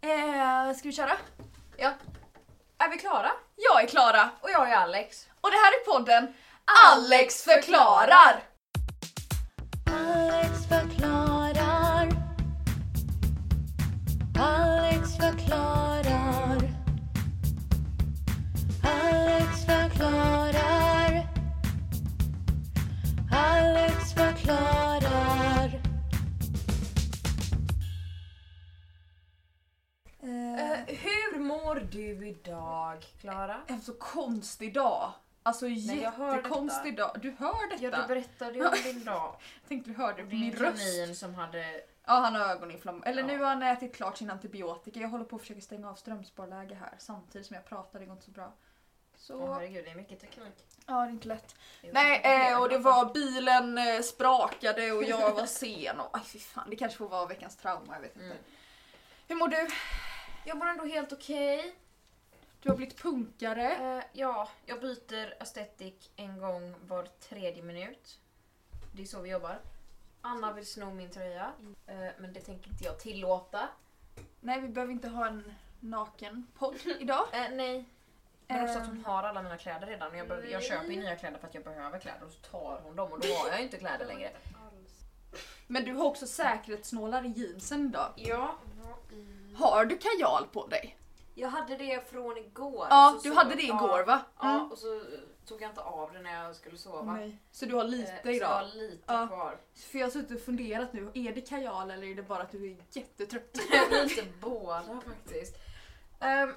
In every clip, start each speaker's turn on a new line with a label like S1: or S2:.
S1: Eh, ska vi köra?
S2: Ja. Är vi klara?
S1: Jag är Klara
S2: Och jag är Alex.
S1: och det här är podden Alex
S2: Alex
S1: förklarar!
S2: förklarar.
S3: Alex förklarar. Alex förklarar. Alex förklarar. Alex förklarar.
S1: Eh,
S2: hur mår du idag, Klara?
S1: en så konstig dag. Alltså
S2: jag hör
S1: jättekonstig dag. Du hör detta?
S2: Ja, du berättade ju om din dag.
S1: jag tänkte du hörde på
S2: Din
S1: min röst.
S2: kanin som hade...
S1: Ja, han har ögoninflammation. Eller
S2: Ja.
S1: nu har han ätit klart sin antibiotika. Jag håller på att försöka stänga av strömsparläge här samtidigt som jag pratar. Det går inte så bra. Så,
S2: Åh herregud, det är mycket teknik.
S1: ja det är inte lätt.
S2: Det är
S1: Nej,
S2: mycket
S1: eh, och det
S2: problem.
S1: var bilen eh, sprakade och jag var sen och aj, fy fan, det kanske får vara veckans trauma, jag vet inte.
S2: Mm.
S1: Hur mår du?
S2: Jag mår ändå helt okej.
S1: Du har blivit punkare.
S2: Eh, ja, jag byter estetik en gång var tredje minut. Det är så vi jobbar. Anna vill sno min tröja, eh, men det tänker inte jag tillåta.
S1: Nej, vi behöver inte ha en naken podd idag.
S2: Eh, nej. Men också att hon
S1: Eh.
S2: har alla mina kläder redan. och Jag, behöver, jag köper ju nya kläder för att jag behöver kläder och så tar hon dem och då har jag ju inte kläder längre.
S1: Men du har också säkerhetssnålare jeansen idag.
S2: Ja, Mm.
S1: Har du kajal på dig?
S2: jag hade det från igår.
S1: Ja,
S2: Så
S1: du
S2: alltså så-
S1: hade det igår
S2: Ja,
S1: va?
S2: ja, och så eh, tog jag inte av det när jag skulle sova.
S1: Mm. Så du har
S2: Eh,
S1: lite
S2: så jag har
S1: idag?
S2: lite
S1: Ja.
S2: kvar.
S1: För jag har suttit och funderat nu, är det kajal eller är det bara att du är jättetrött?
S2: lite båda faktiskt. Ehm,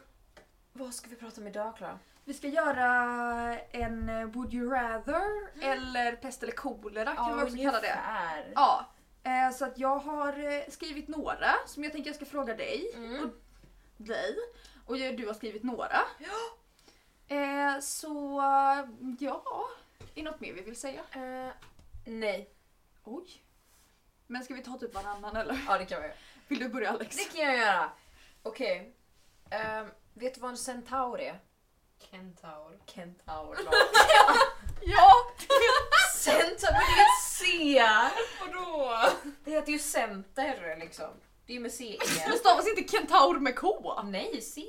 S2: vad ska vi prata om idag Klara?
S1: Vi ska göra en eh, Would you rather eller pest eller kolera kan vi också kalla det.
S2: ungefär.
S1: Ja, eh, så att jag har eh, skrivit några som jag tänker jag ska fråga dig.
S2: Mm.
S1: Och dig. Och jag- du har skrivit några. Eh, Så eh, ja, är något mer vi vill säga?
S2: Eh, nej.
S1: Oj. Men ska vi ta typ varannan eller?
S2: Ja det kan vi göra.
S1: Vill du börja Alex?
S2: Det kan jag göra. Okej. Ehm, vet du vad en centaur är? Kentaur. Kentaur.
S1: Ja!
S2: centaur, men det är ett C! Vadå? Det heter ju center liksom. Det är ju med C.
S1: Det stavas inte kentaur med K.
S2: nej, C.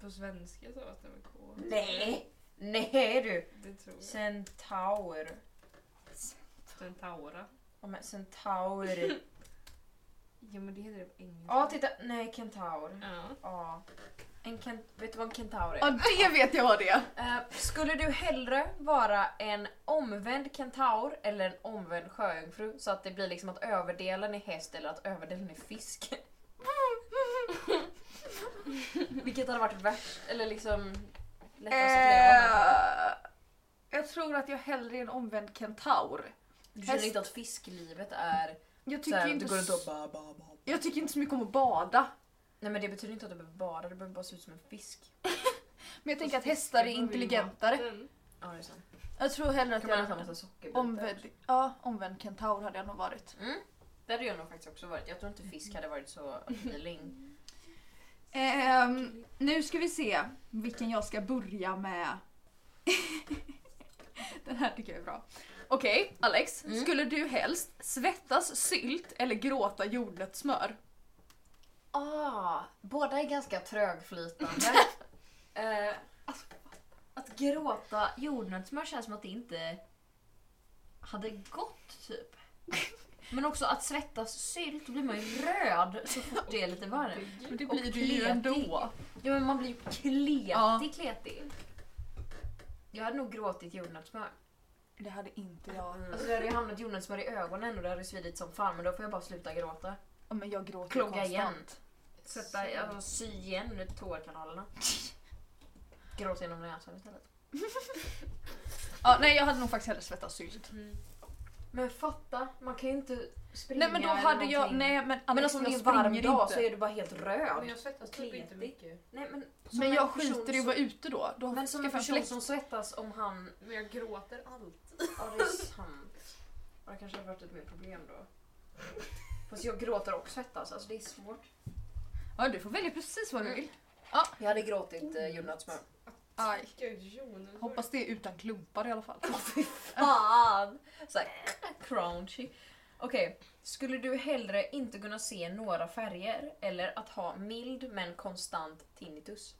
S4: På svenska stavas det med K.
S2: Nej. Nej du.
S4: Det tror jag.
S2: Centaur.
S4: Centaura.
S2: Ja men centaur.
S4: Ja men det heter det på engelska.
S2: Ja typ. titta, nej kentaur.
S4: Ja.
S2: Ja. En kent, vet du vad en kentaur är?
S1: Ja det vet jag vad det är.
S2: Eh, skulle du hellre vara en omvänd kentaur eller en omvänd sjöjungfru? Så att det blir liksom att överdelen är häst eller att överdelen är fisk. Vilket hade varit värst? Eller liksom lättast att leva med?
S1: Eh, jag tror att jag hellre är en omvänd kentaur.
S2: Du känner
S1: häst.
S2: inte att fisklivet är
S1: Jag tycker,
S2: såhär,
S1: inte
S2: du går runt
S1: så,
S2: och ba, ba, ba.
S1: jag tycker inte så mycket om att bada.
S2: Nej men det betyder inte att du behöver bada, du behöver bara se ut som en fisk.
S1: Men jag tänker att hästar är intelligentare.
S2: Ja det är sant.
S1: Jag tror hellre att
S2: Kan man äta en
S1: jag...
S2: massa sockerbitar?
S1: Omvänd, ja, omvänd kentaur hade jag nog varit.
S2: Mm. Det hade jag nog faktiskt också varit. Jag tror inte fisk hade varit så appealing.
S1: Ehm, nu ska vi se vilken jag ska börja med. Den här tycker jag är bra. Okej, Alex.
S2: Mm.
S1: Skulle du helst svettas sylt eller gråta jordnötssmör?
S2: Ah, båda är ganska trögflytande. eh, alltså, att gråta jordnötssmör känns som att det inte hade gått typ. Men också att svettas sylt, då blir man ju röd så fort det är lite varmt.
S1: Men det
S2: Och
S1: blir du ju
S2: kletig.
S1: ändå.
S2: Ja men man blir ju kletig
S1: Ja.
S2: kletig. Jag hade nog gråtit jordnötssmör.
S1: Det hade inte jag.
S2: Alltså det hade ju hamnat jordnötssmör i ögonen och det hade svidit som fan men då får jag bara sluta gråta.
S1: Ja, men jag gråter
S2: Klogga
S1: konstant.
S2: igen. Sätta, alltså, sy igen ut tårkanalerna. Gråt genom näsan istället.
S1: Ja, nej, jag hade nog faktiskt hellre svettats sylt.
S2: Men fatta, man kan ju inte springa
S1: Nej men då hade
S2: eller
S1: jag...
S2: någonting.
S1: Nej, men,
S2: men
S1: Alex,
S2: alltså, om det är
S1: jag
S2: en varm
S1: springer
S2: dag
S1: inte.
S2: så är du bara helt röd.
S4: Men jag svettas typ inte mycket.
S2: Nej, men, som
S1: Men
S2: en
S1: jag
S2: person
S1: skiter i att
S2: som-
S1: vara ute då. då
S2: Men som en
S1: skaffar jag
S2: person
S1: fläkt.
S2: som svettas om han...
S4: Men jag gråter alltid.
S2: Ja det är sant. Ja, Det kanske hade varit ett mer problem då. Fast jag gråter och svettas, alltså det är svårt.
S1: Ja, du får välja precis vad du
S2: Mm.
S1: vill.
S2: Jag hade gråtit eh, jordnötssmör.
S1: Aj.
S4: Gud, Jonas.
S1: Hoppas det är utan klumpar i alla fall.
S2: Fan! Såhär crunchy. Okej, skulle du hellre inte kunna se några färger eller att ha mild men konstant tinnitus?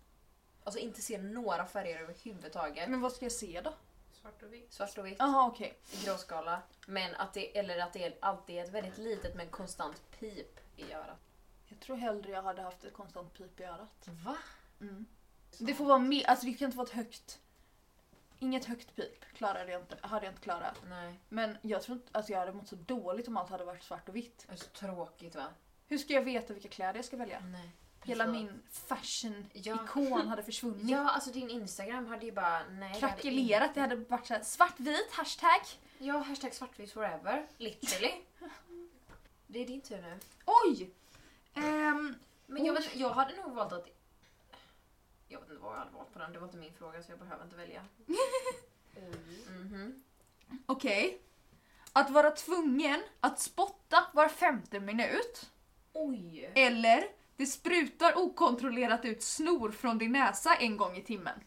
S2: Alltså inte se några färger överhuvudtaget.
S1: Men vad ska jag se då?
S4: Svart och vitt.
S2: Svart och vitt,
S1: Jaha okej.
S2: gråskala. Men att det, eller att det är alltid är ett väldigt litet men konstant pip i örat.
S1: Jag tror hellre jag hade haft ett konstant pip i örat.
S2: Va? Mm.
S1: Det får vara mer, alltså det kan inte vara ett högt... Inget högt pip klarade jag inte, hade jag inte klarat.
S2: Nej,
S1: Men jag tror inte, alltså jag hade mått så dåligt om allt hade varit svart och vitt.
S2: det är så tråkigt va?
S1: Hur ska jag veta vilka kläder jag ska välja?
S2: Nej.
S1: Hela
S2: Så-
S1: min
S2: Alltså, Ja.
S1: fashion-ikon hade försvunnit.
S2: Ja, alltså din Instagram hade ju bara... Nej, det hade
S1: Krackelerat, det hade varit såhär svartvit, hashtag.
S2: inte- Ja, hashtag svartvitt forever. Literally. det är din tur nu.
S1: Oj! Ehm,
S2: Men jag, vet, jag hade nog valt att... Jag vet inte vad jag hade valt på den, det var inte min fråga så jag behöver inte välja.
S4: Oj.
S2: Mhm.
S1: Okej. Att vara tvungen att spotta var femte minut.
S2: Oj!
S1: Eller det sprutar okontrollerat ut snor från din näsa en gång i timmen.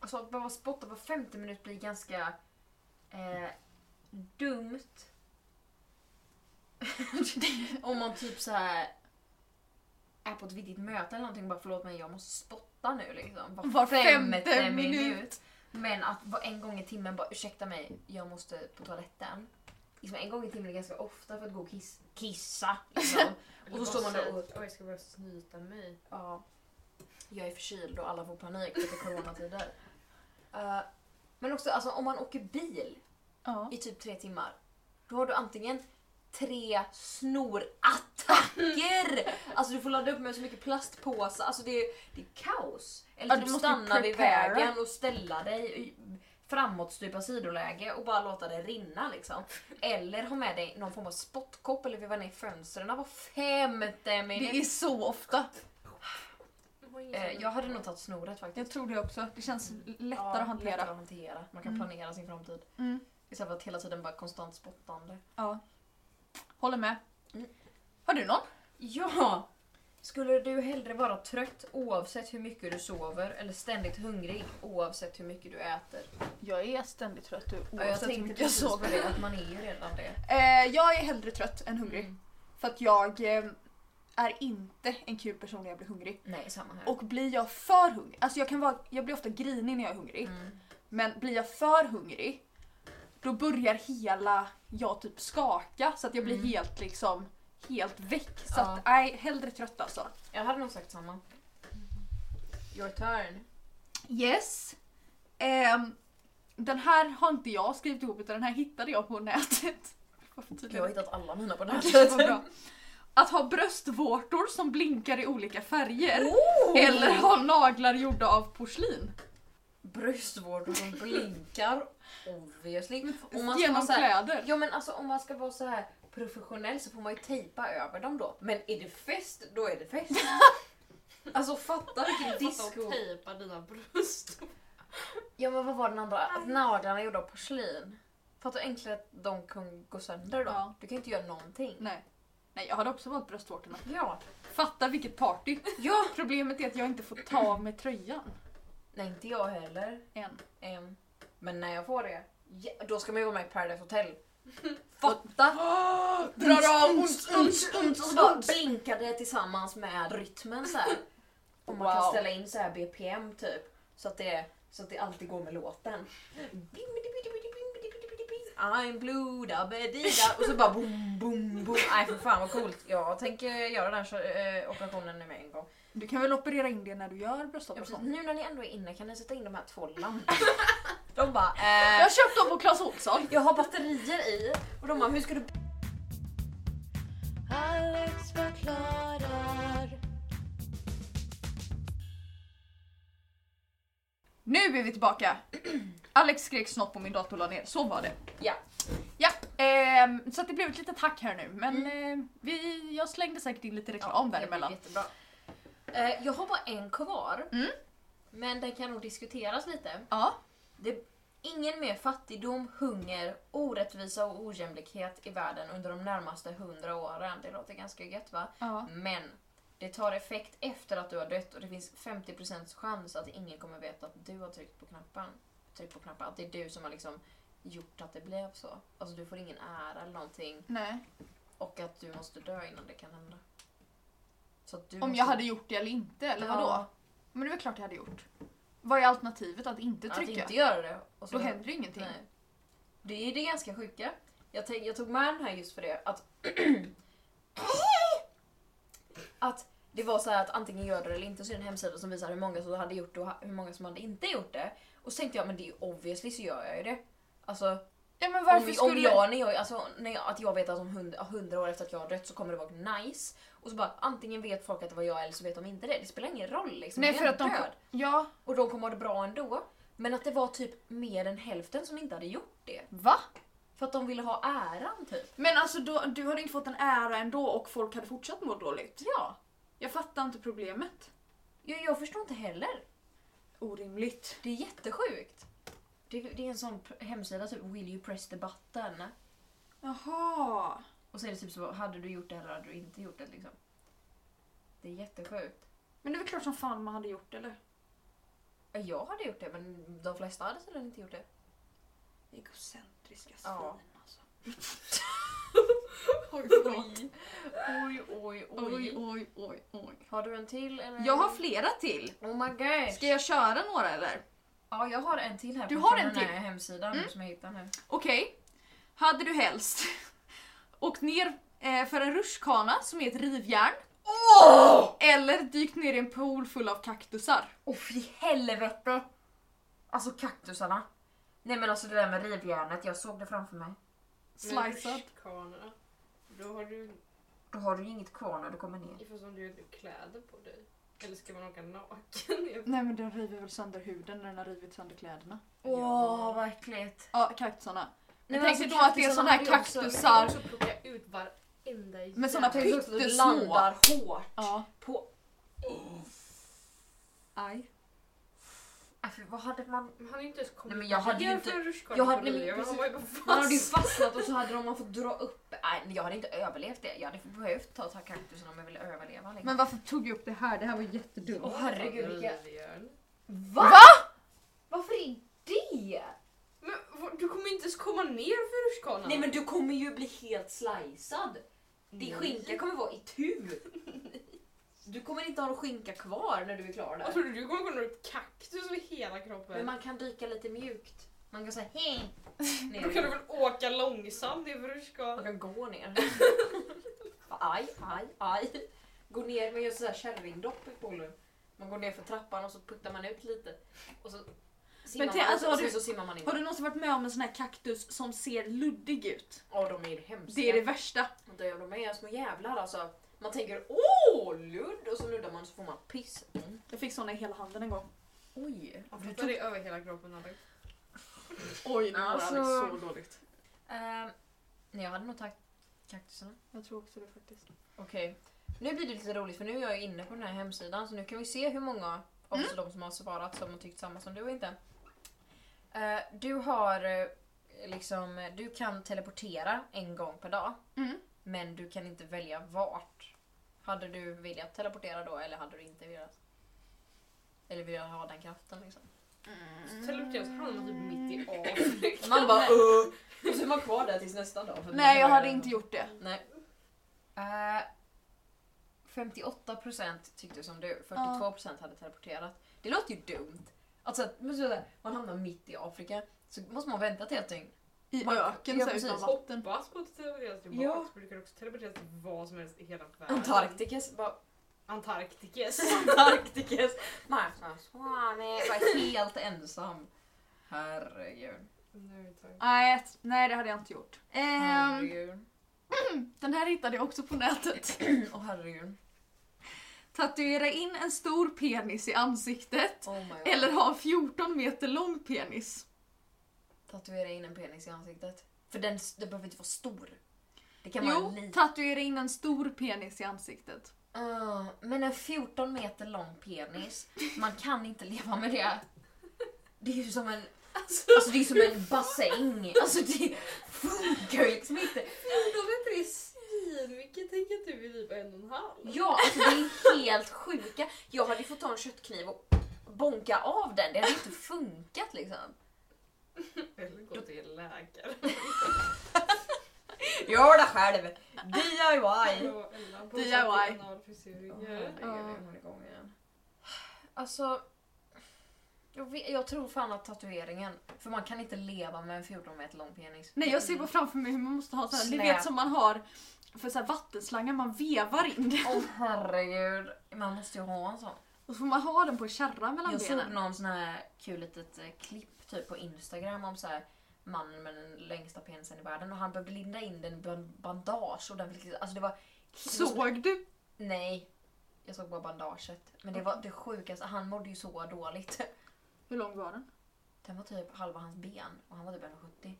S2: Alltså att behöva spotta var femte minut blir ganska... Eh, dumt. Om man typ så här är på ett viktigt möte eller någonting bara förlåt mig jag måste spotta nu liksom.
S1: Var femte minut.
S2: Men att bara en gång i timmen bara ursäkta mig jag måste på toaletten. Liksom en gång i timmen är ganska ofta för att gå och kiss, kissa. Liksom. och så står man där och
S4: Oj, jag ska bara snyta mig.
S2: Ja. Jag är förkyld och alla får panik för att det är coronatider. Eh, men också alltså, om man åker bil
S1: Ja.
S2: i typ tre timmar, då har du antingen tre snorattacker! alltså du får ladda upp med så mycket plastpåsar, alltså det är, det är kaos. Eller
S1: Ja,
S2: typ
S1: du måste ju
S2: stanna vid
S1: prepara.
S2: vägen och ställa dig i framåtstupa sidoläge och bara låta det rinna liksom. Eller ha med dig någon form av spottkopp eller veva ner fönstren var femte minut.
S1: Det är så ofta.
S2: Eh, jag hade nog tagit snoret faktiskt.
S1: Jag tror det också. Det känns lättare
S2: Ja,
S1: att hantera.
S2: Lättare att hantera. Man kan
S1: Mm.
S2: planera sin framtid.
S1: Mm.
S2: Istället för att hela tiden bara konstant spottande.
S1: Ja. Håller med.
S2: Mm.
S1: Har du någon?
S2: Ja! Skulle du hellre vara trött oavsett hur mycket du sover eller ständigt hungrig oavsett hur mycket du äter?
S1: Jag är ständigt trött
S2: Ja, jag tänkte precis på det, att man är ju redan det.
S1: Eh, jag är hellre trött än hungrig. För att jag eh, är inte en kul person när jag blir hungrig.
S2: Nej, samma här.
S1: Och blir jag för hungrig, alltså jag, kan vara, jag blir ofta grinig när jag är hungrig.
S2: Mm.
S1: Men blir jag för hungrig, då börjar hela jag typ skaka så att jag blir
S2: Mm.
S1: helt liksom helt väck. Så
S2: Ja.
S1: att nej, hellre trött alltså.
S2: Jag hade nog sagt samma. Your turn.
S1: Yes. Ehm, den här har inte jag skrivit ihop utan den här hittade jag på nätet. Varför
S2: Jag
S1: tydligen?
S2: har hittat alla mina på
S1: Okej,
S2: nätet.
S1: vad bra. Att ha bröstvårtor som blinkar i olika färger.
S2: Oh!
S1: Eller ha naglar gjorda av porslin.
S2: bröstvårtor som blinkar. Obviously. Om man ska vara
S1: Genom
S2: så här,
S1: kläder.
S2: Ja men alltså om man ska vara så här professionell så får man ju tejpa över dem då. Men är det fest, då är det fest. alltså fatta vilken disco...
S4: Disco. Tejpa dina bröst.
S2: Ja men vad var den andra? Att naglarna gjorda av porslin. Fattar du enklare att de kan gå sönder då?
S1: Ja.
S2: Du kan ju inte göra någonting.
S1: Nej. Nej, jag hade också valt bröstvårtorna.
S2: Ja.
S1: Fatta vilket party.
S2: ja.
S1: Problemet är att jag inte får ta av mig tröjan
S2: Nej inte jag heller.
S1: än.
S2: Em, Men när jag får det, ja, då ska man ju vara med i Paradise Hotel. Fatta!
S1: Drar av
S2: Och så bara blinkar det tillsammans med rytmen så här. Och man kan
S1: Wow.
S2: ställa in så här BPM typ. Så att det, så att det alltid går med låten. I'm blue, da ba di da. Och så bara boom, boom, boom. Nej för fan vad coolt. Jag tänker göra den här eh, operationen nu med en gång.
S1: Du kan väl operera in det när du gör
S2: Ja, precis.
S1: bröstoperation?
S2: Nu när ni ändå är inne kan ni sätta in de här två lamporna. De bara eh,
S1: Jag köpte dem på Clas Ohlson.
S2: jag har batterier i. Och de bara hur ska du
S3: Alex förklarar.
S1: Nu är vi tillbaka. Alex skrek snott på min dator och la ner. Så var det.
S2: Ja.
S1: Ja, ehm, så att det blev ett litet hack här nu. Men eh, vi, jag slängde säkert in lite reklam
S2: Mm. det blir
S1: däremellan.
S2: Jättebra. Eh, jag har bara en kvar.
S1: Mm.
S2: Men den kan nog diskuteras lite.
S1: Ja.
S2: Det, ingen mer fattigdom, hunger, orättvisa och ojämlikhet i världen under de närmaste hundra åren. Det låter ganska gött va?
S1: ja.
S2: Men det tar effekt efter att du har dött och det finns 50% chans att ingen kommer veta att du har tryckt på knappen. Tryckt på knappen, att det är du som har liksom gjort att det blev så. Alltså du får ingen ära eller någonting.
S1: Nej.
S2: Och att du måste dö innan det kan hända. Så att
S1: Om
S2: du måste-
S1: jag hade gjort det eller inte, eller
S2: Ja,
S1: vadå? Men det är väl klart jag hade gjort. Vad är alternativet? Att inte
S2: Att
S1: trycka?
S2: inte göra det. Och
S1: Då händer ju ingenting.
S2: Nej. Det är ju det ganska sjuka. Jag, tänk, jag tog med den här just för det att... att det var så här att antingen gör det eller inte så är det en hemsida som visar hur många som hade gjort det och ha- hur många som hade inte gjort det. Och så tänkte jag men det är ju obviously så gör jag ju det. Alltså
S1: Ja men varför
S2: om,
S1: skulle...
S2: om jag, när jag, alltså, när jag, att jag vet att om hundra, hundra år efter att jag har dött så kommer det vara nice. Och så bara antingen vet folk att det var jag eller så vet de inte det. Det spelar ingen roll liksom.
S1: Nej
S2: jag är
S1: för att de...
S2: död.
S1: Ja.
S2: Och de kommer ha det bra ändå. Men att det var typ mer än hälften som inte hade gjort det.
S1: Va?
S2: För att de ville ha äran typ.
S1: Men alltså då, du hade inte fått en ära ändå och folk hade fortsatt må dåligt.
S2: Ja.
S1: Jag fattar inte problemet.
S2: Jag, jag förstår inte heller.
S1: Orimligt.
S2: Det är jättesjukt. Det, det är en sån pr- hemsida typ “Will you press the button?”
S1: Jaha.
S2: Och så är det typ så “Hade du gjort det eller hade du inte gjort det?” liksom. Det är jättesjukt.
S1: Men det är väl klart som fan man hade gjort eller?
S2: Ja, Jag hade gjort det men de flesta hade tydligen inte gjort det.
S1: Egocentriska svin
S2: Ja.
S1: alltså.
S4: Oj,
S2: förlåt. Oj, oj,
S1: Oj, oj, oj, oj.
S2: Har du en till eller?
S1: Jag har flera till.
S2: Oh my god.
S1: Ska jag köra några eller?
S2: Ja, jag har en till här
S1: Du
S2: på
S1: har
S2: den
S1: en
S2: här
S1: till? Mm.
S2: hemsidan som jag hittar nu.
S1: Okej. Hade du helst åkt ner eh, för en rutschkana som är ett rivjärn? Eller dykt ner i en pool full av kaktusar?
S2: Åh fy helvete! Alltså kaktusarna. Nej men alltså det där med rivjärnet, jag såg det framför mig.
S1: Slicead.
S4: Kamerorna. Då har du...
S2: Då har du ju inget kvar när du kommer ner.
S4: Fast om du inte har kläder på dig. Eller ska man åka naken? Jag-
S1: Nej men den river väl sönder huden när den har rivit sönder kläderna.
S2: Åh vad äckligt.
S1: Ja, kaktusarna.
S2: Nej,
S1: Men
S2: men
S1: tänk dig
S2: alltså,
S1: då att det är såna här
S2: kaktusarna hade ju också-
S1: kaktusar.
S4: Jag ska plocka ut varenda
S1: Men såna
S4: jävla-
S1: Tänk också att det landar
S2: hårt
S1: Ja.
S2: på...
S1: Aj.
S2: Äh, vad hade man...
S4: Men Han är inte ens kommit
S2: Nej, men jag hade ju
S4: Jämför
S2: inte-
S4: rutschkanan
S2: jag hade-
S4: på
S2: nej, men
S4: Lilja, men Han
S2: precis.
S4: var ju bara
S2: Man hade ju
S4: fast.
S2: fastnat och så hade de man fått dra upp... Nej jag hade inte överlevt det. Jag hade behövt ta, ta kaktusarna om jag ville överleva. Liksom.
S1: Men varför tog jag upp det här? Det här var jättedumt.
S2: Åh, herregud, vilka-
S4: Lilian.
S2: Va? Varför är det?
S4: Men vad- du kommer inte ens komma ner för rutschkanan.
S2: Nej men du kommer ju bli helt slicead. Din
S4: Nej.
S2: skinka kommer vara i tur. Du kommer inte ha någon skinka kvar när du är klar
S4: Vad
S2: där.
S4: tror du? Du kommer gå ner och kaktus över hela kroppen.
S2: Men man kan dyka lite mjukt. Man kan säga hej.
S4: Då kan du
S2: Ner.
S4: väl åka långsamt ner för
S2: Man
S4: rutschkanan.
S2: kan gå ner. aj, aj, aj. Gå ner, man gör sådär kärringdopp i poolen. Man går ner för trappan och så puttar man ut lite. Och så simmar
S1: tänk,
S2: man ut
S1: alltså, har
S2: och sen
S1: du-
S2: så simmar man in.
S1: Har du någonsin varit med om en sån här kaktus som ser luddig ut?
S2: Ja, de är ju hemska.
S1: Det är det värsta.
S2: Det är de är små jävlar alltså. Man tänker åh ludd och så nuddar man så får man piss.
S1: Jag fick såna i hela handen en gång.
S2: Oj.
S4: Jag fattar det över hela kroppen Alex.
S1: Oj,
S2: nu mår Alex
S1: Alltså-
S2: så
S1: dåligt.
S2: Ehm, nej, jag hade nog tagit kaktusarna.
S1: Jag tror också det faktiskt.
S2: Okej. Nu blir det lite roligt för nu är jag inne på den här hemsidan så nu kan vi se hur många av oss de som har svarat som har tyckt samma som du och inte. Eh, du har eh, liksom, eh, du kan teleportera en gång per dag
S1: Mm.
S2: men du kan inte välja vart. Hade du velat teleportera då eller hade du inte velat? Eller vill ha den kraften liksom?
S4: Så teleporteras han typ mitt i Afrika.
S2: Mm. Man bara uh, Och så är man kvar där tills nästa dag. för att
S1: Nej, jag
S2: man-
S1: hade inte gjort det.
S2: Nej. Eh, 58% tyckte som du, 42% hade teleporterat. Det låter ju dumt. Alltså, att- men så där, man hamnar mitt i Afrika, så måste man vänta till ett dygn.
S1: I
S2: Man-
S1: öken
S2: ja,
S1: så här,
S2: precis.
S1: utan vatten.
S4: Hoppas på att teleporteras tillbaka.
S2: Ja.
S4: Så brukar också teleporteras till vad som helst i hela världen.
S2: Antarktis, bara
S4: Antarktis.
S2: Antarktis. Marshmallow, var helt ensam. Herregud.
S4: Nej tack.
S1: Nej, ett- nej, det hade jag inte gjort. Ehm,
S2: Herregud.
S1: den här hittade jag också på nätet.
S2: Åh herregud.
S1: Tatuera in en stor penis i ansiktet.
S2: Oh my god.
S1: Eller ha en 14 meter lång penis.
S2: Tatuera in en penis i ansiktet. För den, den behöver inte vara stor. Det kan vara en
S1: Jo,
S2: liten.
S1: tatuera in en stor penis i ansiktet.
S2: Ah, men en 14 meter lång penis, man kan inte leva med det. Det är ju som en, alltså det är som en bassäng. Alltså det funkar ju liksom inte.
S4: De är inte det svinmycket. Tänk att du är typ en och en halv.
S2: Ja, alltså det är helt sjuka. Jag hade ju fått ta en köttkniv och bonka av den. Det hade inte funkat liksom.
S4: Eller gå till läkare.
S2: Gör det själv! DIY!
S4: Eller på
S1: DIY.
S4: analfysiologer.
S2: Herregud, hon är igång igen. Alltså, jag, vet, jag tror fan att tatueringen, för man kan inte leva med en 14 meter lång penis.
S1: Nej jag ser bara framför mig hur man måste ha så här, ni
S2: Släp.
S1: vet som man har för så här vattenslangar, man vevar in det.
S2: Åh herregud, man måste ju ha en sån.
S1: Och så får man ha den på en kärra mellan
S2: Jag såg
S1: benen.
S2: någon sån här kul litet eh, klipp typ på Instagram om så här mannen med den längsta penisen i världen och han behövde linda in den i en bandage och den fick alltså det var
S1: Såg du?
S2: Nej. Jag såg bara bandaget. Men det var det sjukaste, han mådde ju så dåligt.
S1: Hur lång var den?
S2: Den var typ halva hans ben och han var typ 1,70.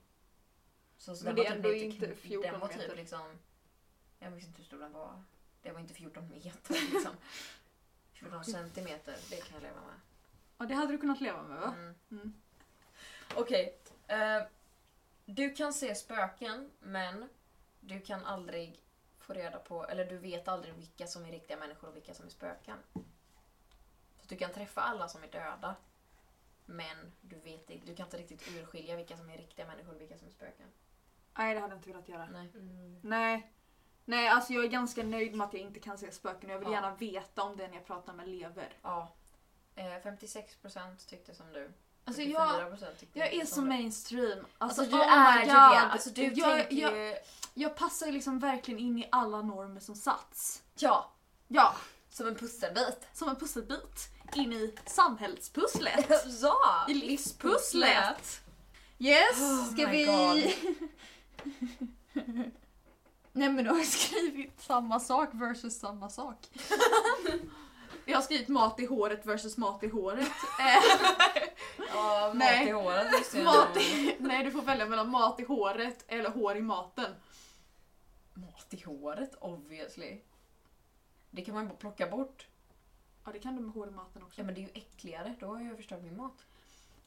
S2: Så, så
S1: Men
S2: den
S1: det är
S2: var typ
S1: ändå
S2: lite
S1: inte
S2: kn-
S1: 14
S2: Den var typ
S1: meter.
S2: liksom... Jag minns inte hur stor den var. Det var inte 14 meter liksom. 14 centimeter, det kan jag leva med.
S1: Ja det hade du kunnat leva med va?
S2: Mm.
S1: Mm.
S2: Okej. eh, du kan se spöken, men du kan aldrig få reda på, eller du vet aldrig vilka som är riktiga människor och vilka som är spöken. Så du kan träffa alla som är döda, men du, vet, inte- du kan inte riktigt urskilja vilka som är riktiga människor och vilka som är spöken.
S1: Nej det hade jag inte velat göra.
S2: Nej.
S4: Mm.
S1: Nej. Nej alltså jag är ganska nöjd med att jag inte kan se spöken och jag vill
S2: Ja.
S1: gärna veta om den jag pratar med lever.
S2: Ja. Eh, 56% tyckte som du.
S1: Alltså jag,
S2: 44% tyckte
S1: jag är
S2: inte
S1: så mainstream. Alltså,
S2: Alltså du
S1: oh
S2: är
S1: my
S2: ju
S1: god.
S2: det. Alltså, du
S1: jag,
S2: tänker ju...
S1: jag, jag passar ju liksom verkligen in i alla normer som satts.
S2: Ja,
S1: Ja,
S2: som en pusselbit.
S1: som en pusselbit in i samhällspusslet.
S2: ja!
S1: I livspusslet. Yes,
S2: Oh
S1: ska
S2: my
S1: vi...
S2: God.
S1: Nej men du har ju skrivit samma sak versus samma sak. Jag har skrivit mat i håret versus mat i håret. Eh,
S2: Ja, mat
S1: Nej.
S2: i håret visste jag.
S1: mat i... Nej du får välja mellan mat i håret eller hår i maten.
S2: Mat i håret obviously. Det kan man ju bara plocka bort.
S1: Ja det kan du med hår i maten också.
S2: Ja men det är ju äckligare, då har jag ju förstört min mat.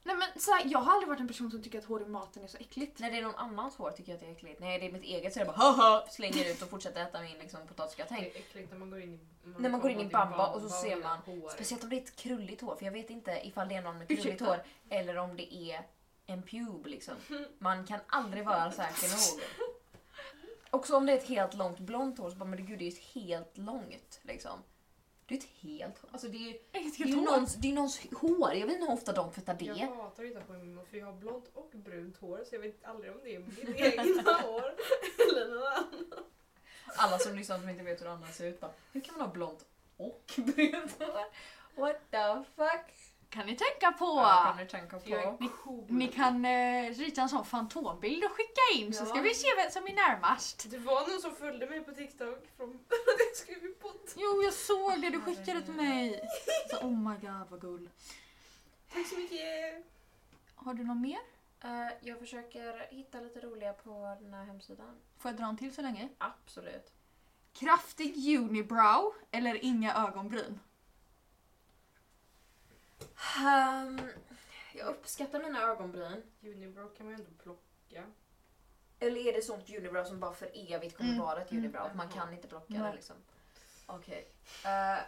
S1: Nej men så här, jag har aldrig varit en person som tycker att hår i maten är så äckligt.
S2: När det är någon annans hår tycker jag att det är äckligt. När det är mitt eget så är det bara haha, slänger ut och fortsätter äta min liksom, potatisgratäng.
S4: Det är äckligt när man går in i
S2: När man går in i bamba och så
S4: bamba
S2: ser
S4: och
S2: man-
S4: hår.
S2: Speciellt om det är ett krulligt hår, för jag vet inte ifall det är någon med krulligt
S1: Ursäkta?
S2: hår eller om det är en pube liksom. Man kan aldrig vara säker nog. Också om det är ett helt långt blont hår så bara, men gud det är ju ett helt långt liksom. Det är ett helt hår. Alltså det är ju
S1: Äckligt
S2: Det är, ju
S1: hår.
S2: någons, det är någons hår, jag vet inte hur ofta de tvättar
S4: Jag
S2: det.
S4: hatar att titta på min mamma för jag har blont och brunt hår så jag vet aldrig om det är mitt egna hår eller någon annan.
S2: Alla som lyssnar som inte vet hur andra ser ut bara, hur kan man ha blont och brunt hår? What the fuck?
S1: kan ni tänka på?
S2: Ja, kan du tänka på.
S4: Jag är cool.
S1: Ni kan eh, rita en sån fantombild och skicka in så
S4: Ja.
S1: ska vi se vem som är närmast.
S4: Det var någon som följde mig på TikTok från det skulle vi podda.
S1: Jo, jag såg det. Du skickade till mig. Så, oh my god, vad gull.
S4: Tack så mycket!
S1: Har du någon mer?
S2: Eh, jag försöker hitta lite roliga på den här hemsidan.
S1: Får jag dra en till så länge?
S2: Absolut.
S1: Kraftig unibrow eller inga ögonbryn?
S2: Ehm, jag uppskattar mina ögonbryn.
S4: Unibrow kan man ju ändå plocka.
S2: Eller är det sånt unibrow som bara för evigt kommer
S1: Mm.
S2: vara ett
S1: Mm.
S2: unibrow? Att man kan inte plocka det
S1: Nej.
S2: liksom. Okej. Eh,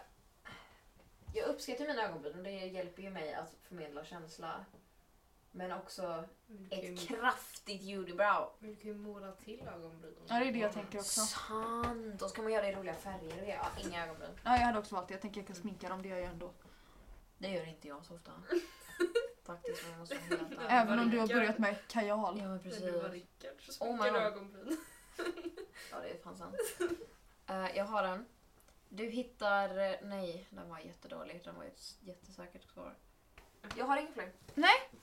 S2: jag uppskattar mina ögonbryn och det hjälper ju mig att förmedla känsla. Men också
S4: Men du kan ju-
S2: ett kraftigt unibrow.
S4: men du kan ju måla till ögonbrynen.
S1: Ja, det är det jag tänker också.
S2: Sant! Och ska man göra det i roliga färger och ja, inga ögonbryn.
S1: Ja, jag hade också valt det. Jag tänker jag kan sminka dem, det gör jag ändå.
S2: Det gör inte jag så ofta. Faktiskt, men jag måste vara helt
S1: Även om du har
S4: Rickard.
S1: börjat med kajal.
S2: Ja, men
S4: När du var
S2: precis.
S4: Rickard så
S2: Oh my
S4: sminkade du
S2: God.
S4: ögonbrynen.
S2: Ja, det är fan sant. Eh, jag har den. Du hittar... eh, Nej, den var jättedålig. Den var ett jättesäkert svar. Jag har ingen fler.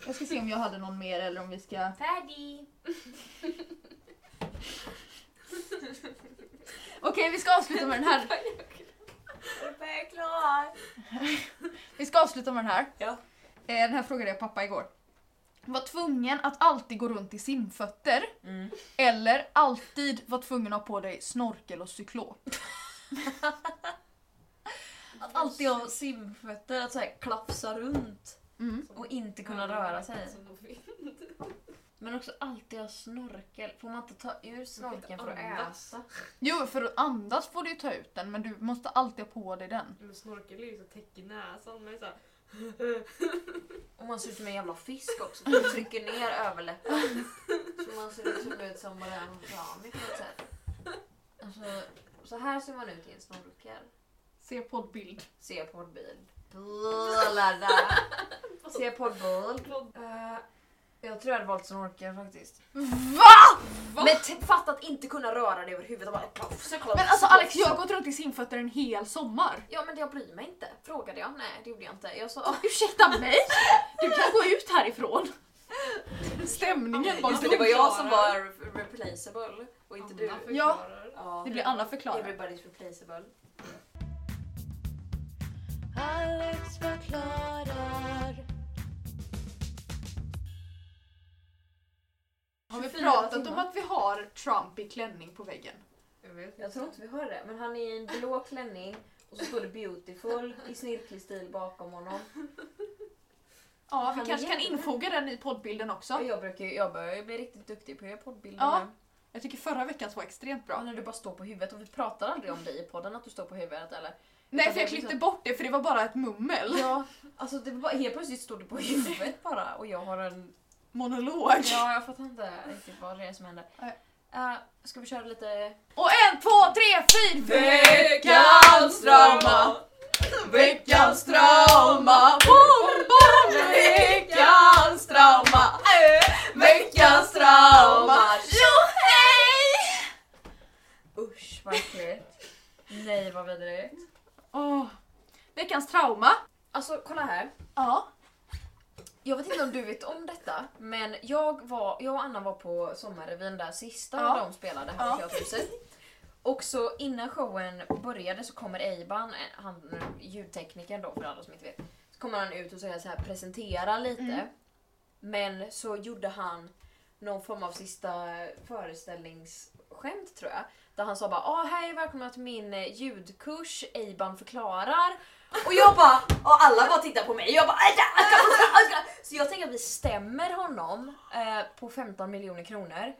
S1: Jag ska se om jag hade någon mer eller om vi ska...
S2: Färdig!
S1: Okej, vi ska avsluta med den här.
S2: Jag är klar!
S1: Vi ska avsluta med den här.
S2: Ja.
S1: Eh, Den här frågade jag pappa igår. Var tvungen att alltid gå runt i simfötter
S2: Mm.
S1: eller alltid var tvungen att ha på dig snorkel och cyklop.
S2: Att alltid ha simfötter, att så här klafsa runt
S1: Mm.
S2: och inte kunna röra sig. Men också alltid ha snorkel. Får man inte ta ur snorkeln för att
S4: andas.
S2: äta?
S1: Jo, för att andas får du ju ta ut den men du måste alltid ha på dig den.
S4: Men snorkel är ju så täck i näsan. Men så här,
S2: Och man ser ut som en jävla fisk också. Man trycker ner överläppen. Så man ser ut som, ut som man är origami på något sätt. Alltså, så här ser man ut i en snorkel.
S1: Se poddbild.
S2: Se poddbil. Bulada. Se poddbil. Uh, jag tror jag hade valt snorkel faktiskt.
S1: VA? Va?
S2: Men t- fatta att inte kunna röra det över huvudet och bara poff, så kolla.
S1: Men alltså Alex, jag har gått runt i simfötter en hel sommar.
S2: Ja men jag bryr mig inte. Frågade jag? Nej det gjorde jag inte. Jag sa
S1: Ursäkta mig? Du kan gå ut härifrån. Stämningen bara...
S2: Just det, det var jag som var re- replaceable och inte du.
S4: Anna
S1: Ja.
S4: förklarar.
S2: Ja.
S1: Det blir Anna förklarar.
S2: Everybody's replaceable.
S3: Alex förklarar.
S1: Har vi
S2: 24
S1: pratat om
S2: timmar.
S1: att vi har Trump i klänning på väggen?
S4: Jag vet
S2: Jag
S4: inte.
S2: tror inte vi hör det men han är i en blå klänning och så står det beautiful i snirklig stil bakom honom.
S1: Ja,
S2: Han
S1: vi
S2: är
S1: kanske kan
S2: jättebra.
S1: infoga den i poddbilden
S2: Ja.
S1: också.
S2: Jag, brukar, ju- jag börjar ju bli riktigt duktig på att göra poddbilder
S1: Ja.
S2: nu.
S1: Jag tycker förra veckans var extremt
S2: Ja,
S1: bra.
S2: när du bara står på huvudet och vi pratar aldrig om dig i podden att du står på huvudet eller?
S1: Nej, för jag klippte bort det för det var bara ett mummel.
S2: liksom- Ja, alltså det var bara, helt plötsligt stod du på huvudet bara och jag har en...
S1: Monolog.
S2: Ja, jag fattar inte riktigt vad det är som händer.
S1: Nej.
S2: Uh, ska vi köra lite...
S1: Och en, två, tre, fyra!
S4: Veckans drama.
S1: Veckans trauma! Bom, bom! Veckans trauma! Veckans trauma! Jo, hej!
S2: Usch vad äckligt. Nej vad vidrigt.
S1: Åh. Veckans trauma?
S2: Alltså kolla här.
S1: Ja.
S2: Jag vet inte om du vet om detta, men jag, var, jag och Anna var på sommarrevyn där sista
S1: Ja.
S2: de spelade här på
S1: Ja.
S2: Teaterhuset. Och så innan showen började så kommer Eiban, eh, han, ljudteknikern då för alla som inte vet, så kommer han ut och säger så här presentera lite. Men så gjorde han någon form av sista föreställningsskämt tror jag. Där han sa bara ah, hej välkomna till min eh, ljudkurs, Eiban förklarar. Och jag bara, och alla bara tittar på mig. Jag bara, "Aj, aj, aj, aj, aj." så jag tänker att vi stämmer honom eh, på 15 miljoner kronor.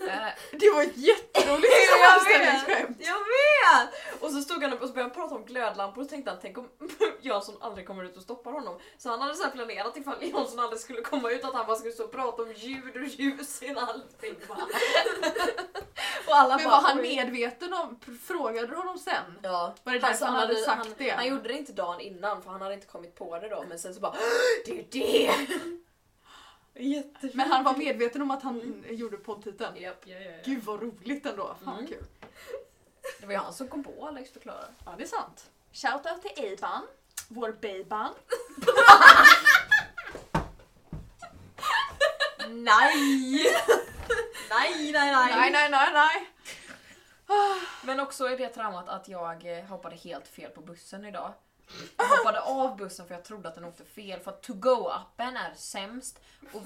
S2: Eh,
S1: Det var ett jätteroligt
S2: Jag vet.
S1: sammanställningsskämt.
S2: jag vet! Och så stod han upp och så började han prata om glödlampor och så tänkte han tänk om Jansson aldrig kommer ut och stoppar honom. Så han hade så här planerat ifall Jansson aldrig skulle komma ut att han bara skulle stå och prata om ljud och ljus i allting. Bara. och alla
S1: Men
S2: bara,
S1: var han
S2: "Oj."
S1: medveten om, frågade du honom sen?
S2: Ja.
S1: Var det därför han hade sagt
S2: han,
S1: det?
S2: Han gjorde det inte dagen innan för han hade inte kommit på det då men sen så bara Det är ju det! Jättefint.
S1: Men han var medveten om att han gjorde poddtiteln?
S2: Japp.
S4: Ja, ja, ja.
S1: Gud vad roligt ändå. Fan
S2: Mm.
S1: kul.
S2: Det var ju han som kom på Alex förklara.
S1: Ja, det är sant. Shoutout till Eiban, vår Beiban.
S2: Nej! nej, nej, nej,
S1: Nej, nej, nej, nej.
S2: Men också är det traumat att jag eh, hoppade helt fel på bussen idag. Jag hoppade av bussen för jag trodde att den åkte fel för att to go-appen är sämst. Och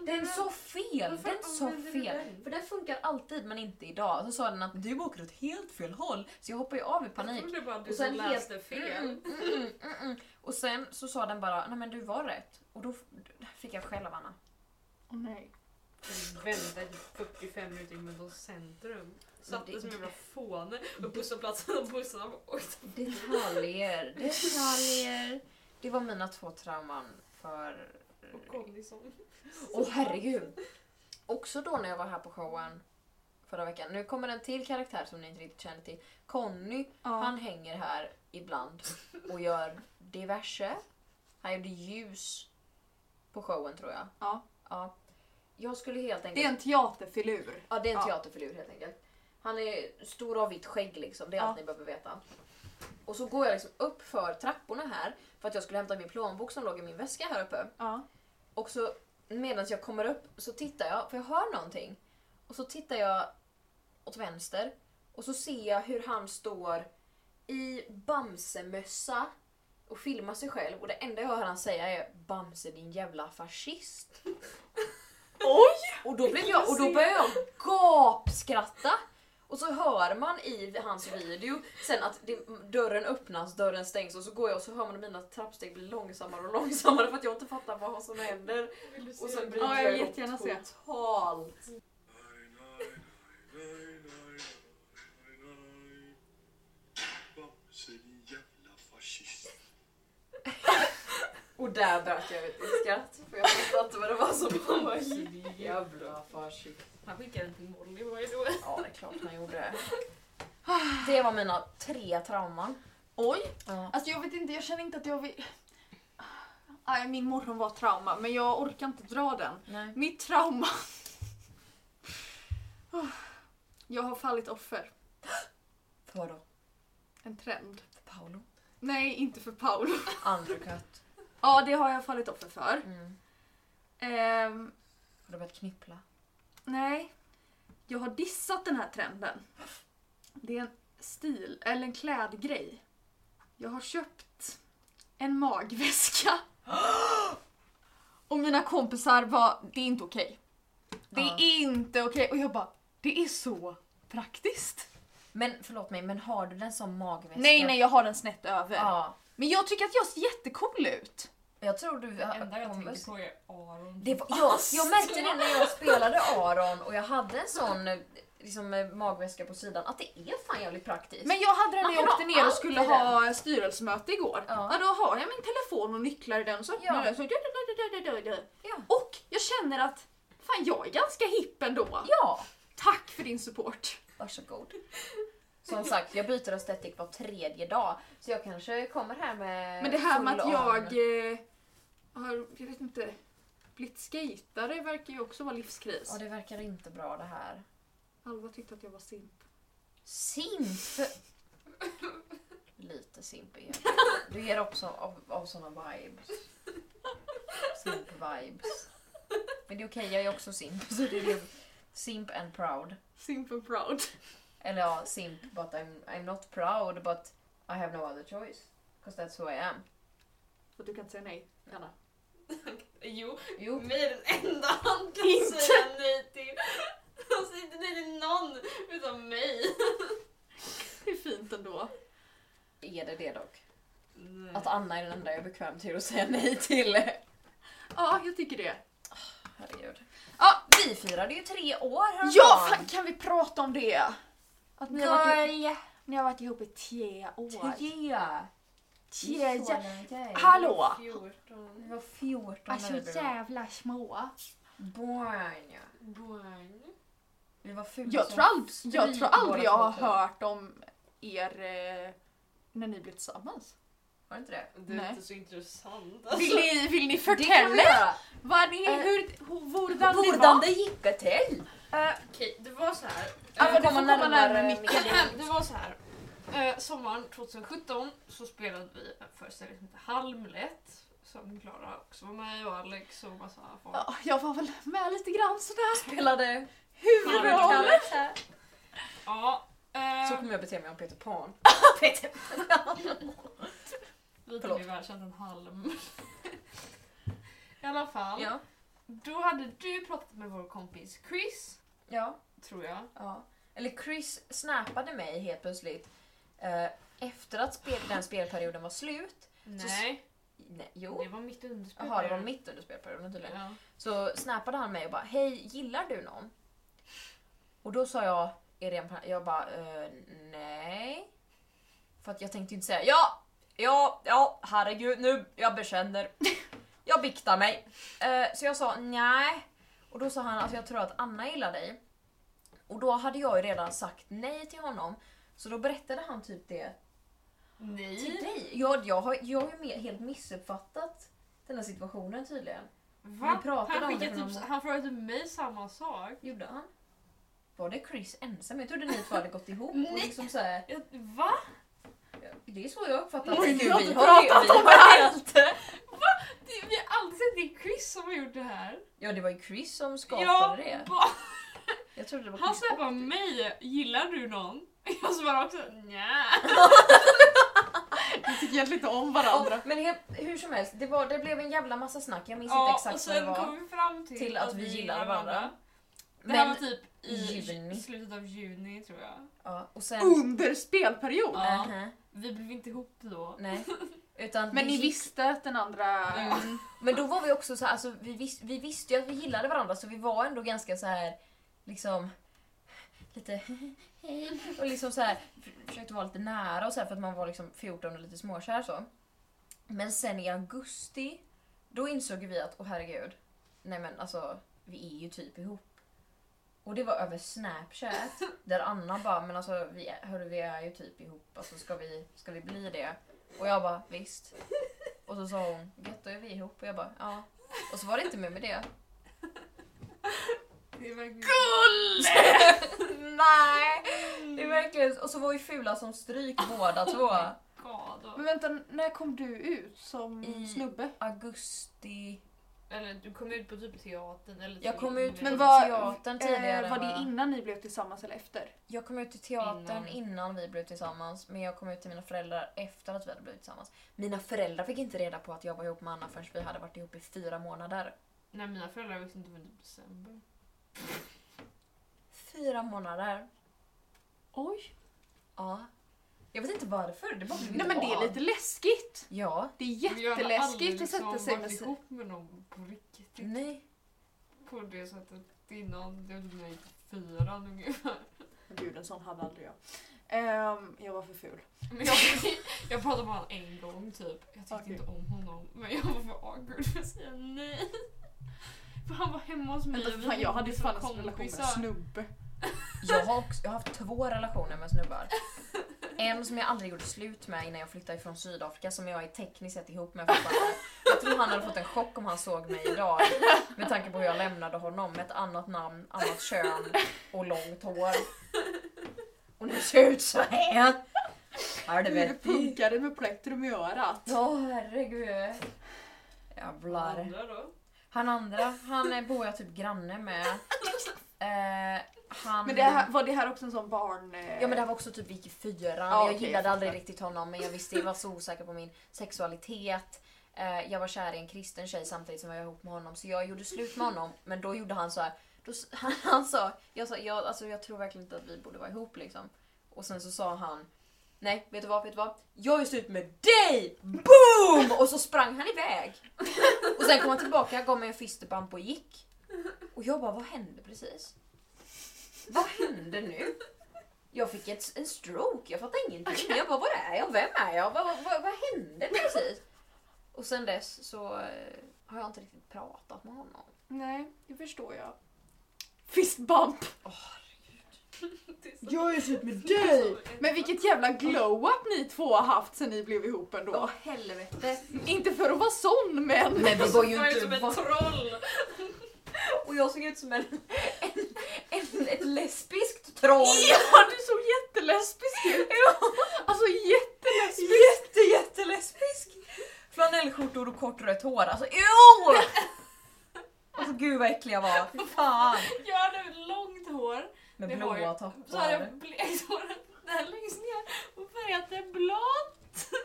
S2: den sa fel!
S4: Varför
S2: Den sa
S4: använder du
S2: fel!
S4: den?
S2: För den funkar alltid men inte idag. Så sa den att du åker åt helt fel håll så jag hoppade ju av i
S4: Jag
S2: panik.
S4: trodde bara att du
S2: Och sen
S4: som
S2: helt-
S4: läste fel.
S2: Mm, mm, mm, mm. Och sen så sa den bara nej men du var rätt. Och då f- fick jag skäll av Anna.
S1: Åh nej.
S4: Vi vände i 45 minuter in mot centrum.
S2: Det-
S4: Satte som jävla fåne och busshållplatsen och bussarna bara åkte.
S2: Detaljer, detaljer. Det var mina två trauman för...
S4: Och kom liksom.
S2: Åh herregud! Också då när jag var här på showen förra veckan. Nu kommer en till karaktär som ni inte riktigt känner till. Conny, han hänger här ibland och gör diverse. Han gjorde ljus på showen tror jag.
S1: Ja.
S2: ja. Jag skulle helt enkelt...
S1: Det är en teaterfilur.
S2: Ja, det är en
S1: Ja.
S2: teaterfilur helt enkelt. Han är stor av vitt skägg liksom, det är
S1: Ja.
S2: allt ni behöver veta. Och så går jag liksom upp för trapporna här för att jag skulle hämta min plånbok som låg i min väska här uppe.
S1: Ja.
S2: Och så medan jag kommer upp så tittar jag, för jag hör någonting. Och så tittar jag åt vänster och så ser jag hur han står i Bamsemössa och filmar sig själv och det enda jag hör han säga är Bamse din jävla fascist.
S1: Oj!
S2: Och då, blev jag, och då började jag gapskratta. Och så hör man i hans video sen att det, dörren öppnas, dörren stängs och så går jag och så hör man att mina trappsteg blir långsammare och långsammare för att jag inte fattar vad som händer.
S4: Vill du se
S2: Och sen
S4: den?
S2: bryter
S1: Ja, jag
S2: jag
S1: vill
S2: ihop
S1: jättegärna se.
S2: totalt.
S5: Bamse din jävla fascist.
S2: Och
S5: Och där bröt jag ut i skratt för jag fattade inte vad det var som pågick. Jävla farsigt.
S4: Han skickade den till Molly, vad är det?
S5: Ja, det är klart man gjorde det.
S2: Det var mina tre trauman.
S1: Oj!
S2: Ja.
S1: Alltså jag vet inte, jag känner inte att jag vill... Aj, min morgon var trauma, men jag orkar inte dra den.
S2: Nej.
S1: Mitt trauma... Ah. Jag har fallit offer.
S2: För vadå?
S1: En trend.
S2: För Paolo?
S1: Nej, inte för Paolo.
S2: Undercut.
S1: Ja, det har jag fallit offer för.
S2: Mm.
S1: Ehm,
S2: Har du börjat knippla?
S1: nej. Jag har dissat den här trenden. Det är en stil, eller en klädgrej. Jag har köpt en magväska. Och mina kompisar var, det är inte okej. Det är
S2: Ja.
S1: inte okej. Och jag bara, det är så praktiskt.
S2: Men förlåt mig, men har du den som magväska?
S1: Nej, nej, jag har den snett över.
S2: Ja.
S1: Men jag tycker att jag ser jättecool ut.
S2: Jag tror du...
S4: Det enda jag
S2: Converse.
S4: tänker på är Aron.
S2: Det var, jag, jag märkte det när jag spelade Aron och jag hade en sån eh, liksom, eh, magväska på sidan att det är fan jävligt praktiskt.
S1: Men jag hade den
S2: Man
S1: när jag
S2: kan
S1: åkte
S2: ha
S1: ner och
S2: allt
S1: skulle
S2: i den.
S1: ha styrelsemöte igår.
S2: Ja.
S1: Ja. då har jag min telefon och nycklar i den och så öppnar
S2: Ja.
S1: jag den. Så... du, du, du, du, du, du, du.
S2: Ja.
S1: Och jag känner att fan jag är ganska hipp ändå.
S2: Ja!
S1: Tack för din support.
S2: Varsågod. Som sagt, jag byter estetik var tredje dag så jag kanske kommer här med
S1: Men det här med
S2: full
S1: att
S2: on.
S1: jag eh, har, jag vet inte, blivit skejtare verkar ju också vara livskris.
S2: Ja, det verkar inte bra det här.
S1: Alva tyckte att jag var simp.
S2: Simp! Lite simp är du. Du ger upp så, av, av såna vibes. Simp-vibes. Men det är okej, jag är också simp. Så det är simp and proud.
S1: Simp and proud.
S2: Eller ja, simp but I'm, I'm not proud but I have no other choice. Cause that's who I am.
S1: Så du kan inte säga nej, Anna.
S4: Jo,
S2: Jo,
S4: mig är den enda han kan inte. säga nej till. Han säger inte nej till någon utan mig.
S1: Det är fint ändå.
S2: är det det dock.
S1: Mm.
S4: Nej.
S2: Att Anna är den enda jag är bekväm till att säga nej till.
S1: Ja, jag tycker det.
S2: Herregud.
S1: Ja,
S2: Vi firade ju tre år häromdagen.
S1: Ja, fan, kan vi prata om det? Att ni har varit,
S2: Girl!
S1: ni har varit ihop i tio år.
S2: Tre!
S1: Tio
S2: Så
S1: jä-
S2: länge.
S1: Hallå!
S4: 14.
S2: Vi var 14
S1: Alltså jävla små.
S2: Barn ja.
S4: Barn.
S2: Vi var fula
S1: Jag
S2: som
S1: tror aldrig jag,
S2: stryk
S1: tror aldrig
S2: båda
S1: jag har
S2: två, typ. tror
S1: hört om er eh, när ni blev tillsammans.
S2: Var det inte det?
S4: Det är
S1: Nej.
S4: inte så intressant.
S1: Vill ni, vill ni
S2: Det kan vi
S1: förtälla
S2: göra.
S1: vad ni,
S2: Eh,
S1: hur, hurdan ni
S2: Hvordan
S1: var?
S2: det gikk det Alltså, til?
S4: Okej, det var så här.
S1: Ja, men du får komma närmare,
S4: det var så här. Eh, sommaren 2017 så spelade vi en föreställning som hette Halmlätt. Som Klara också var med i och Alex och massa folk.
S1: Ja, jag var väl med lite grann sådär.
S2: Spelade
S1: Huvudrollen.
S4: Ja, eh,
S2: Så kommer jag bete mig om Peter Pan.
S5: Peter.
S4: lite
S2: förlåt.
S4: mer välkänt än halm. I alla fall. Då hade du pratat med vår kompis Chris,
S2: Ja.
S4: tror jag.
S2: ja. Eller Chris snappade mig helt plötsligt eh, efter att spel, den spelperioden var slut.
S4: Nej,
S2: Nej, jo.
S4: det var mitt underspel.
S2: Jaha, det var mitt under spelperioden tydligen.
S4: Ja.
S2: Så snappade han mig och bara hej, gillar du någon? Och då sa jag, är det en pan-" Jag bara eh, nej. För att jag tänkte ju inte säga ja, ja, ja, herregud nu, jag bekänner. Jag biktar mig. Eh, så jag sa nej. Och då sa han alltså jag tror att Anna gillar dig. Och då hade jag ju redan sagt nej till honom. Så då berättade han typ det till
S4: Nej.
S2: dig. Jag, jag har jag har ju me- helt missuppfattat den här situationen tydligen.
S4: Va?
S2: Vi pratade
S4: han,
S2: om det
S4: skickade
S2: för
S4: typ,
S2: någon-
S4: han frågade mig samma sak.
S2: Gjorde han? Var det Chris ensam? Jag trodde ni två hade gått ihop. Och
S4: Nej.
S2: liksom så här,
S4: Jag, va?
S2: det är så jag uppfattar
S1: Oj,
S2: Gud,
S1: vi har
S2: vi
S1: inte
S2: har-
S1: pratat
S2: vi
S1: om
S2: har inte-
S4: Det, vi har alltid sett det är Chris som har gjort det här.
S2: Ja, det var ju Chris som skapade
S4: Ja,
S2: det.
S4: va?
S2: Jag trodde det var
S4: Han
S2: Chris.
S4: snappade mig, gillar du någon? Jag svarade också nja.
S1: Vi tycker egentligen inte om
S2: Ja,
S1: varandra.
S2: men he- hur som helst, det, var, det blev en jävla massa snack. Jag minns
S4: Ja,
S2: inte
S4: och
S2: exakt vad det
S4: sen
S2: var.
S4: kom vi fram till,
S2: Till att vi gillar varandra.
S4: Det här
S2: Men,
S4: var typ i
S2: i juni.
S4: slutet av juni tror jag.
S2: ja, och sen...
S4: Oh.
S1: Under spelperiod.
S4: Ja.
S2: Aha,
S4: Vi blev inte ihop då.
S2: nej. Utan
S1: Men
S2: vi
S1: ni
S2: gick-
S1: visste att den andra...
S4: Ja.
S2: Men då var vi också så här, alltså, vi, vis, vi visste ju att vi gillade varandra så vi var ändå ganska så här liksom lite hej och liksom så här för- försökte vara lite nära och så här för att man var liksom 14 och lite småkär så. Men sen i augusti Då insåg vi att, åh herregud, nej men alltså vi är ju typ ihop. Och det var över snapchat där Anna bara, men alltså vi är, hörru, vi är ju typ ihop, alltså ska vi, ska vi bli det? Och jag bara, visst. Och så sa hon, gött då är vi ihop och jag bara, ja. Och så var det inte mer med det.
S4: Det är verkligen...
S2: nej! Det är verkligen, och så var vi fula som stryk båda två.
S4: God.
S1: Men vänta, när kom du ut som
S2: I-
S1: snubbe?
S2: Augusti.
S4: Eller du kom ut på typ teatern eller
S2: Jag
S4: typ
S2: kom ut
S4: med-
S1: Men
S2: på
S1: var,
S2: teatern tidigare,
S1: eh, var det
S2: va?
S1: innan ni blev tillsammans eller efter?
S2: Jag kom ut till teatern innan.
S4: Innan.
S2: vi blev tillsammans, men jag kom ut till mina föräldrar efter att vi hade blivit tillsammans. Mina föräldrar fick inte reda på att jag var ihop med Anna förrän vi hade varit ihop i fyra månader.
S4: Nej mina föräldrar visste inte förrän typ december.
S2: Fyra månader?
S1: Oj.
S2: Ja. Jag vet inte varför, det bara blev
S1: Nej men det
S2: av.
S1: är lite läskigt.
S2: Ja.
S1: Det är
S4: Jag har aldrig liksom
S1: jätteläskigt att sätta sig med
S4: varit
S1: sig.
S4: ihop med någon på riktigt.
S2: Nej.
S4: På det sättet innan. Det var typ när jag gick i fyran ungefär.
S1: Gud, en sån hade aldrig jag. Ehm, jag var för ful.
S4: Men jag, jag pratade med honom en gång typ. Jag tyckte
S1: Okej.
S4: inte om honom. Men jag var för awkward för att säga nej. För han var hemma hos mig.
S1: Vänta,
S4: och vi
S1: fan, jag hade ju
S4: hängde
S1: fan en
S4: som
S1: sån relation med en
S4: kompisar.
S1: snubbe.
S2: Jag har, också, jag har haft två relationer med snubbar. En som jag aldrig gjorde slut med innan jag flyttade ifrån Sydafrika som jag är tekniskt sett ihop med fortfarande. Jag tror han hade fått en chock om han såg mig idag. Med tanke på hur jag lämnade honom med ett annat namn, annat kön och långt hår. Och nu ser jag ut så här.
S1: Du
S2: Helvete.
S1: punkade med plektrum i örat.
S2: Ja herregud. Jävlar.
S4: Andra då?
S2: Han andra, han eh, bor jag typ granne med. Eh, han...
S1: Men det här, var det här också en sån barn... eh,
S2: Ja men det här var också typ vi gick i fyran.
S1: Ja,
S2: jag
S1: okej,
S2: gillade
S1: jag
S2: aldrig
S1: fattar.
S2: riktigt honom men jag visste jag var så osäker på min sexualitet. Eh, jag var kär i en kristen tjej samtidigt som jag var ihop med honom så jag gjorde slut med honom men då gjorde han så här. Då, s- han, han sa, jag sa jag, alltså, jag tror verkligen inte att vi borde vara ihop liksom. Och sen så sa han Nej, vet du vad? Vet du vad? Jag är slut med dig! Boom! Och så sprang han iväg. Och sen kom han tillbaka, gav mig en fisterbump och gick. Och jag bara, vad hände precis? Vad hände nu? Jag fick ett, en stroke, jag fattar ingenting. Jag bara, vad är jag? Vem är jag? Vad, vad, vad, vad hände precis? Och sen dess så eh, har jag inte riktigt pratat med honom.
S1: Nej, det förstår jag. Fistbump! Jag är slut med dig! Men vilket jävla glow-up ni två har haft sen ni blev ihop ändå.
S2: Åh helvete.
S1: Inte för att vara sån men...
S2: Men vi var ju
S4: Jag är som
S2: inte...
S4: ett troll!
S2: Och jag såg ut som en, en, en, ett lesbiskt troll.
S1: Ja, du såg jättelesbisk ut! Alltså jättelesbisk!
S2: Jätte, jättelesbisk! Flanellskjortor och kort rött hår. Alltså EW! Alltså gud vad äcklig jag var. Fy fan.
S4: Jag hade långt hår.
S2: Med
S4: Det var ju-
S2: blåa
S4: Så hade
S2: toppar.
S4: jag blekt håret där längst ner och färgat det blått.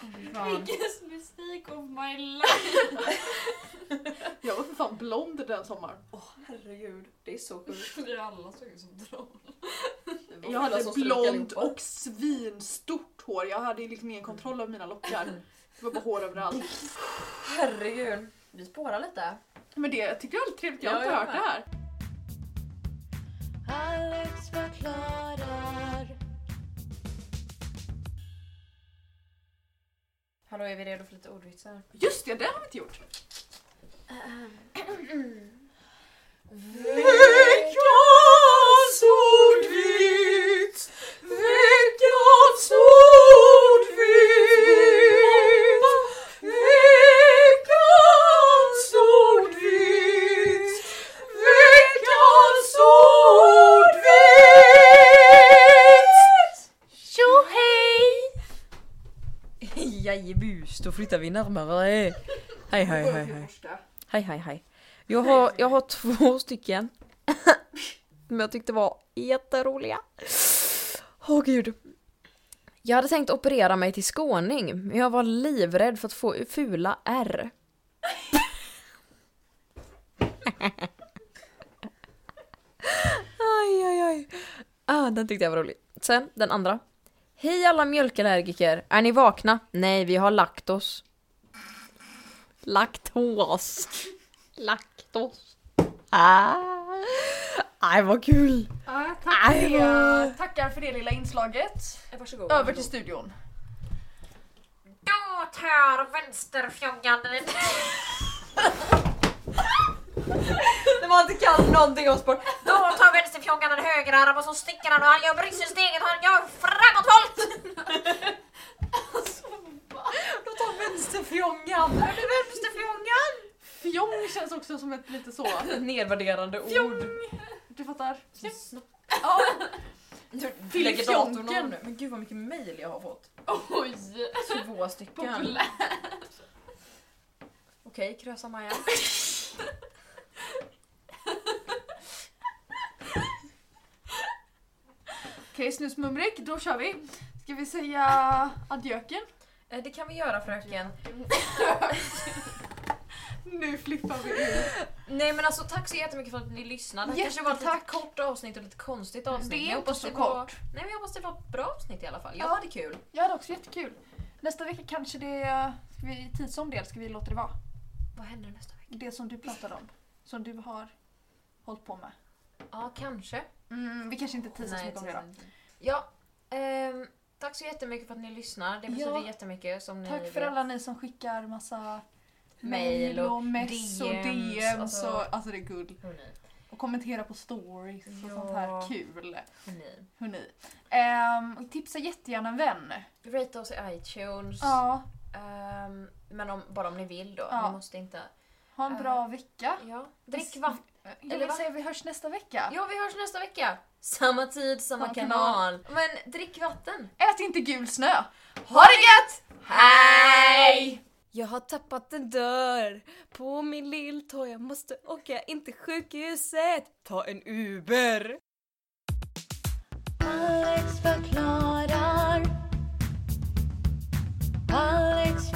S2: Fy fan.
S4: Biggest mistake of my life.
S1: Jag var för fan blond den sommaren.
S2: Herregud, det är så sjukt.
S4: Vi alla såg ut som troll.
S1: Jag hade blond och svinstort hår. Jag hade liksom ingen kontroll över mina lockar. Det var bara hår överallt.
S2: Herregud. Vi spårar lite.
S1: Men det jag tyckte jag var lite trevligt. Jag har
S2: Ja,
S1: inte
S2: jag
S1: hört det
S2: med.
S1: här.
S3: Alex förklarar.
S2: Hallå, är vi redo för lite ordvitsar?
S1: Just det, det har vi inte gjort. Ehm.
S2: Veckans ordvits! Veckans ordvits! Veckans ordvits! Veckans ordvits! Tjohej! Jajebus, då flyttar vi närmare. Hej, hej, hej, hej. Hej, hej, hej. Jag har, jag har två stycken. Som jag tyckte var jätteroliga. Åh gud. Jag hade tänkt operera mig till skåning, men jag var livrädd för att få fula R. aj, aj, aj. Ah, den tyckte jag var rolig. Sen, den andra. Hej alla mjölkallergiker, är ni vakna? Nej, vi har lagt oss. Laktos. Laktos. Ah. Aj, vad kul!
S1: Ja, tack för
S2: Aj,
S1: det.
S2: vad-
S1: Tackar för det lilla inslaget.
S2: Varsågod.
S1: Över till studion.
S2: Då amatör och vänsterfjongan. När man inte kan någonting om sport. Då tar vänsterfjongan en högerarm och så sticker han och han gör bryggsteget och han gör framåtvolt. Då tar vänsterfjongan. Vänsterfjongan.
S1: Fjong känns också som ett lite så...
S2: Nedvärderande ord.
S1: Du fattar?
S2: Ja. Du lägger
S1: Fjong.
S2: datorn av nu. Men gud vad mycket mejl jag har fått.
S4: Oj!
S2: Två stycken.
S4: Populär.
S2: Okej, krösa Maja.
S1: Okej, snusmumrik, då kör vi. Ska vi säga adjöken?
S2: Eh, Det kan vi göra fröken.
S1: Nu flippar vi ut.
S2: Nej men alltså tack så jättemycket för att ni lyssnade. Det kanske var ett lite
S1: Jättetack.
S2: kort avsnitt och lite konstigt avsnitt.
S1: Det
S2: men
S1: är
S2: jag
S1: inte
S2: hoppas
S1: så
S2: det var-
S1: kort.
S2: Nej men jag hoppas det var ett bra avsnitt i alla fall. Jag
S1: Ja.
S2: hade kul.
S1: Jag hade också jättekul. Nästa vecka kanske det... Ska vi tidsomdel ska vi låta det vara.
S2: Vad händer nästa vecka?
S1: Det som du pratade om. Som du har hållit på med.
S2: Ja, kanske.
S1: Mm, vi kanske inte teasar så
S2: Nej,
S1: mycket om det
S2: tusen
S1: då.
S2: inte. Ja, ehm, tack så jättemycket för att ni lyssnar. Det betyder
S1: Ja.
S2: jättemycket som ni
S1: Tack för
S2: vet.
S1: alla ni som skickar massa
S2: Mail
S1: mejl
S2: och
S1: och mess och
S2: DMs,
S1: DMs.
S2: alltså-
S1: Och, alltså det är guld.
S2: Hörni,
S1: Och kommentera på stories och
S2: Ja.
S1: sånt här kul.
S2: hörni.
S1: Hörrni. Ehm, och tipsa jättegärna en vän.
S2: Rate oss i iTunes.
S1: Ja,
S2: Ehm, men om, bara om ni vill då.
S1: Ja.
S2: Ni måste inte...
S1: ha en bra vecka.
S2: Ja. Drick vatten.
S1: Jag
S2: eller
S1: vill
S2: va?
S1: säga vi hörs nästa vecka.
S2: Ja, vi hörs nästa vecka. Samma tid, samma,
S1: Samma
S2: kanal. Men drick vatten.
S1: Ät inte gul snö!
S2: Ha det gött! Hej!
S3: Jag har tappat en dörr på min lilltå. Jag måste åka in till sjukhuset. Ta en Uber. Alex förklarar. Alex